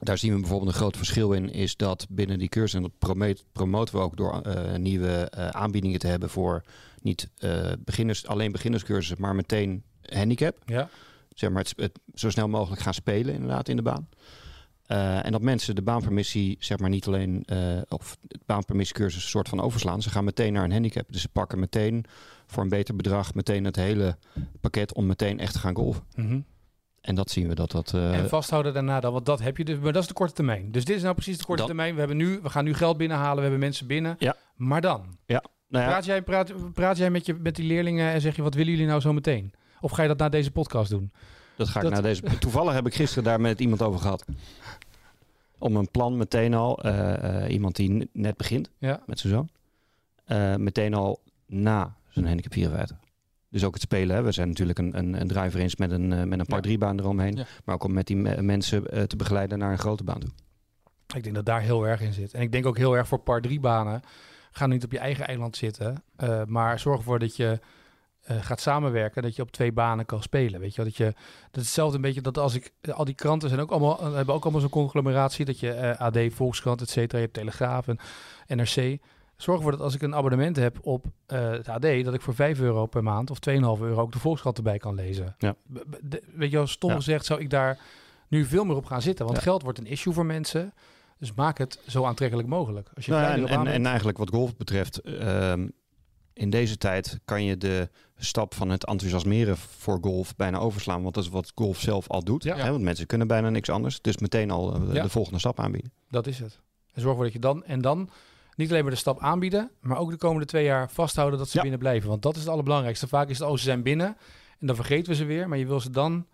S3: daar zien we bijvoorbeeld een groot verschil in, is dat binnen die cursus, en dat promoot- promoten we ook door eh, nieuwe eh, aanbiedingen te hebben voor niet eh, beginners, alleen beginnerscursussen, maar meteen handicap
S1: Ja.
S3: zeg maar, het, het zo snel mogelijk gaan spelen inderdaad in de baan. Eh, en dat mensen de baanpermissie, zeg maar niet alleen, eh, of het baanpermissiecursus een soort van overslaan. Ze gaan meteen naar een handicap. Dus ze pakken meteen voor een beter bedrag meteen het hele pakket om meteen echt te gaan golven.
S1: Mhm.
S3: En dat zien we dat dat... eh,
S1: en vasthouden daarna dan, want dat heb je dus. Maar dat is de korte termijn. Dus dit is nou precies de korte
S3: Dan-
S1: termijn. We, hebben nu, we gaan nu geld binnenhalen, we hebben mensen binnen.
S3: Ja.
S1: Maar dan?
S3: nou ja,
S1: Praat jij, praat, praat jij met, je, met die leerlingen en zeg je, wat willen jullie nou zo meteen? Of ga je dat na deze podcast doen?
S3: dat ga ik
S1: dat-
S3: naar deze... Toevallig heb ik gisteren daar met iemand over gehad. Om een plan meteen al, eh, eh, iemand die n- net begint.
S1: Ja.
S3: met zijn zoon. Eh, meteen al na zijn handicap 54. Dus ook het spelen. Hè. We zijn natuurlijk een, een, een driver eens met een, eh, met een par
S2: Ja.
S3: 3 baan eromheen.
S2: Ja.
S3: Maar ook om met die me- mensen eh, te begeleiden naar een grote baan toe.
S1: Ik denk dat daar heel erg in zit. En ik denk ook heel erg voor par 3 banen. Ga niet op je eigen eiland zitten. eh, maar zorg ervoor dat je eh, gaat samenwerken. Dat je op twee banen kan spelen. Weet je wel? Dat je dat is hetzelfde een beetje dat als ik. eh, al die kranten zijn ook allemaal, eh, hebben ook allemaal zo'n conglomeratie. Dat je eh, AD, Volkskrant, et cetera. Je hebt Telegraaf en NRC. Zorg ervoor dat als ik een abonnement heb op eh, het AD, dat ik voor 5 euro per maand of 2,5 euro ook de Volkskrant erbij kan lezen.
S3: Ja.
S1: B- b- de- weet je wel, stom
S3: Ja.
S1: gezegd zou ik daar nu veel meer op gaan zitten. Want
S3: Ja.
S1: geld wordt een issue voor mensen. Dus maak het zo aantrekkelijk mogelijk. Als je
S3: Nou ja,
S1: kleiner
S3: en, en,
S1: baan
S3: en eigenlijk wat golf betreft, ehm, in deze tijd kan je de stap van het enthousiasmeren voor golf bijna overslaan. Want dat is wat golf zelf al doet.
S1: Ja.
S3: Hè? Want mensen kunnen bijna niks anders. Dus meteen al eh, de,
S1: Ja.
S3: de volgende stap aanbieden.
S1: Dat is het. En zorg ervoor dat je dan en dan niet alleen maar de stap aanbieden, maar ook de komende twee jaar vasthouden dat ze
S3: Ja.
S1: binnen blijven. Want dat is het allerbelangrijkste. Vaak is het, oh, ze zijn binnen en dan vergeten we ze weer, maar je wil ze dan...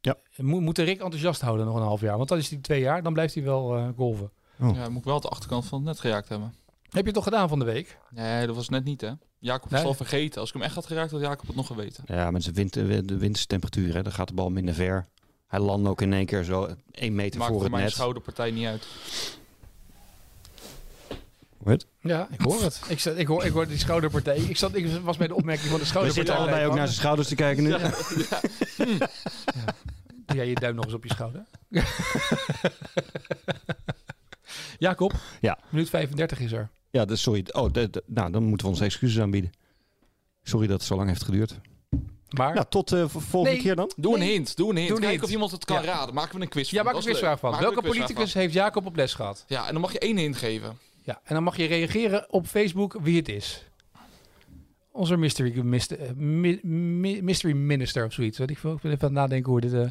S3: Ja.
S1: Je Moet, moet de Rick enthousiast houden nog een half jaar, want dan is die twee jaar, dan blijft hij wel eh, golven.
S3: Oh.
S2: Ja, moet ik wel de achterkant van het net gejaagd hebben.
S1: Heb je het toch gedaan van de week?
S2: Nee, dat was net niet, hè? Jacob
S1: Nee.
S2: is al vergeten. Als ik hem echt had geraakt, had Jacob het nog geweten.
S3: Ja, met zijn wind, eh, de windstemperatuur, hè, dan gaat de bal minder ver. Hij landt ook in één keer zo eh, één meter
S2: Maakt
S3: voor
S2: voor
S3: het
S2: mijn
S3: net.
S2: schouderpartij niet uit.
S1: Ja, ik hoor het. Ik, zat, ik, hoor, ik hoor die schouderpartij. Ik, zat, ik was bij de opmerking van de
S3: We
S1: schouderpartij.
S3: zitten allebei ook naar zijn schouders te kijken nu.
S1: Doe jij je duim nog eens op je schouder? Jacob,
S3: Ja.
S1: minuut 35 is er.
S3: Ja, dus sorry. Oh, de- de- nou, dan moeten we onze excuses aanbieden. Sorry dat het zo lang heeft geduurd.
S1: Maar,
S3: Nou, tot de volgende
S1: Nee.
S3: keer dan.
S2: Doe een
S1: Nee.
S2: hint, doe een hint.
S1: Doe een
S2: Kijk
S1: hint.
S2: of iemand het
S1: Ja.
S2: kan raden. Maken we een quiz van.
S1: ja, maak er
S2: Dat
S1: een
S2: is leuk.
S1: quizvraag van.
S2: Maken we
S1: Welke
S2: een quizvraag
S1: politicus heeft Jacob op les gehad?
S2: van. Ja, en dan mag je één hint geven.
S1: Ja, en dan mag je reageren op Facebook wie het is. Onze mystery, mist- eh, mi- mi- mystery minister of zoiets. Weet ik, veel. ik ben even aan het nadenken hoe dit... eh,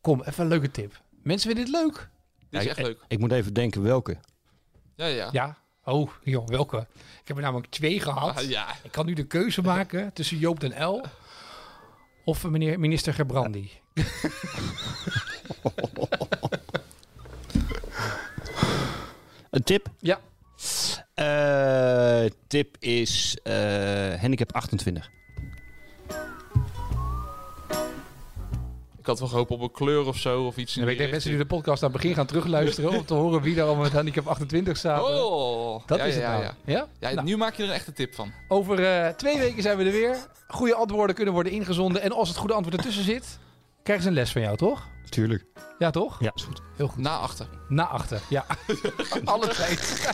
S1: Kom, even een leuke tip. Mensen vinden dit leuk.
S2: Dit is
S3: Ja,
S2: echt leuk.
S3: Ik moet even denken welke.
S2: Ja, ja.
S1: Ja. Oh, joh, welke? Ik heb er namelijk twee gehad.
S2: Ah, ja.
S1: Ik kan nu de keuze maken tussen Joop den L. of meneer minister Gerbrandi.
S3: Een tip?
S1: Ja.
S3: Eh, tip is eh, handicap 28.
S2: Ik had wel gehoopt op een kleur of zo of iets. in
S1: Dan weet ik dat
S2: die
S1: mensen die
S2: richting.
S1: de podcast aan het begin gaan terugluisteren... om te horen wie daar allemaal met handicap 28 staat.
S2: Oh,
S1: Dat
S2: ja,
S1: is het
S2: ja,
S1: nou.
S2: ja.
S1: Ja?
S2: Ja,
S1: Nou,
S2: nu maak je er een echte tip van.
S1: Over eh, twee weken zijn we er weer. Goede antwoorden kunnen worden ingezonden. En als het goede antwoord ertussen zit, krijgen ze een les van jou, toch?
S3: Tuurlijk.
S1: Ja, toch?
S3: Ja, is goed.
S2: Na achter.
S1: Na achter. Ja. Alle tijd.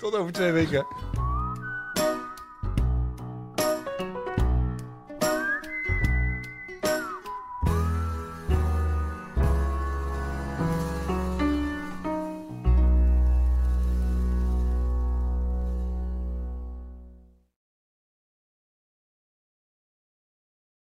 S1: Tot over twee weken.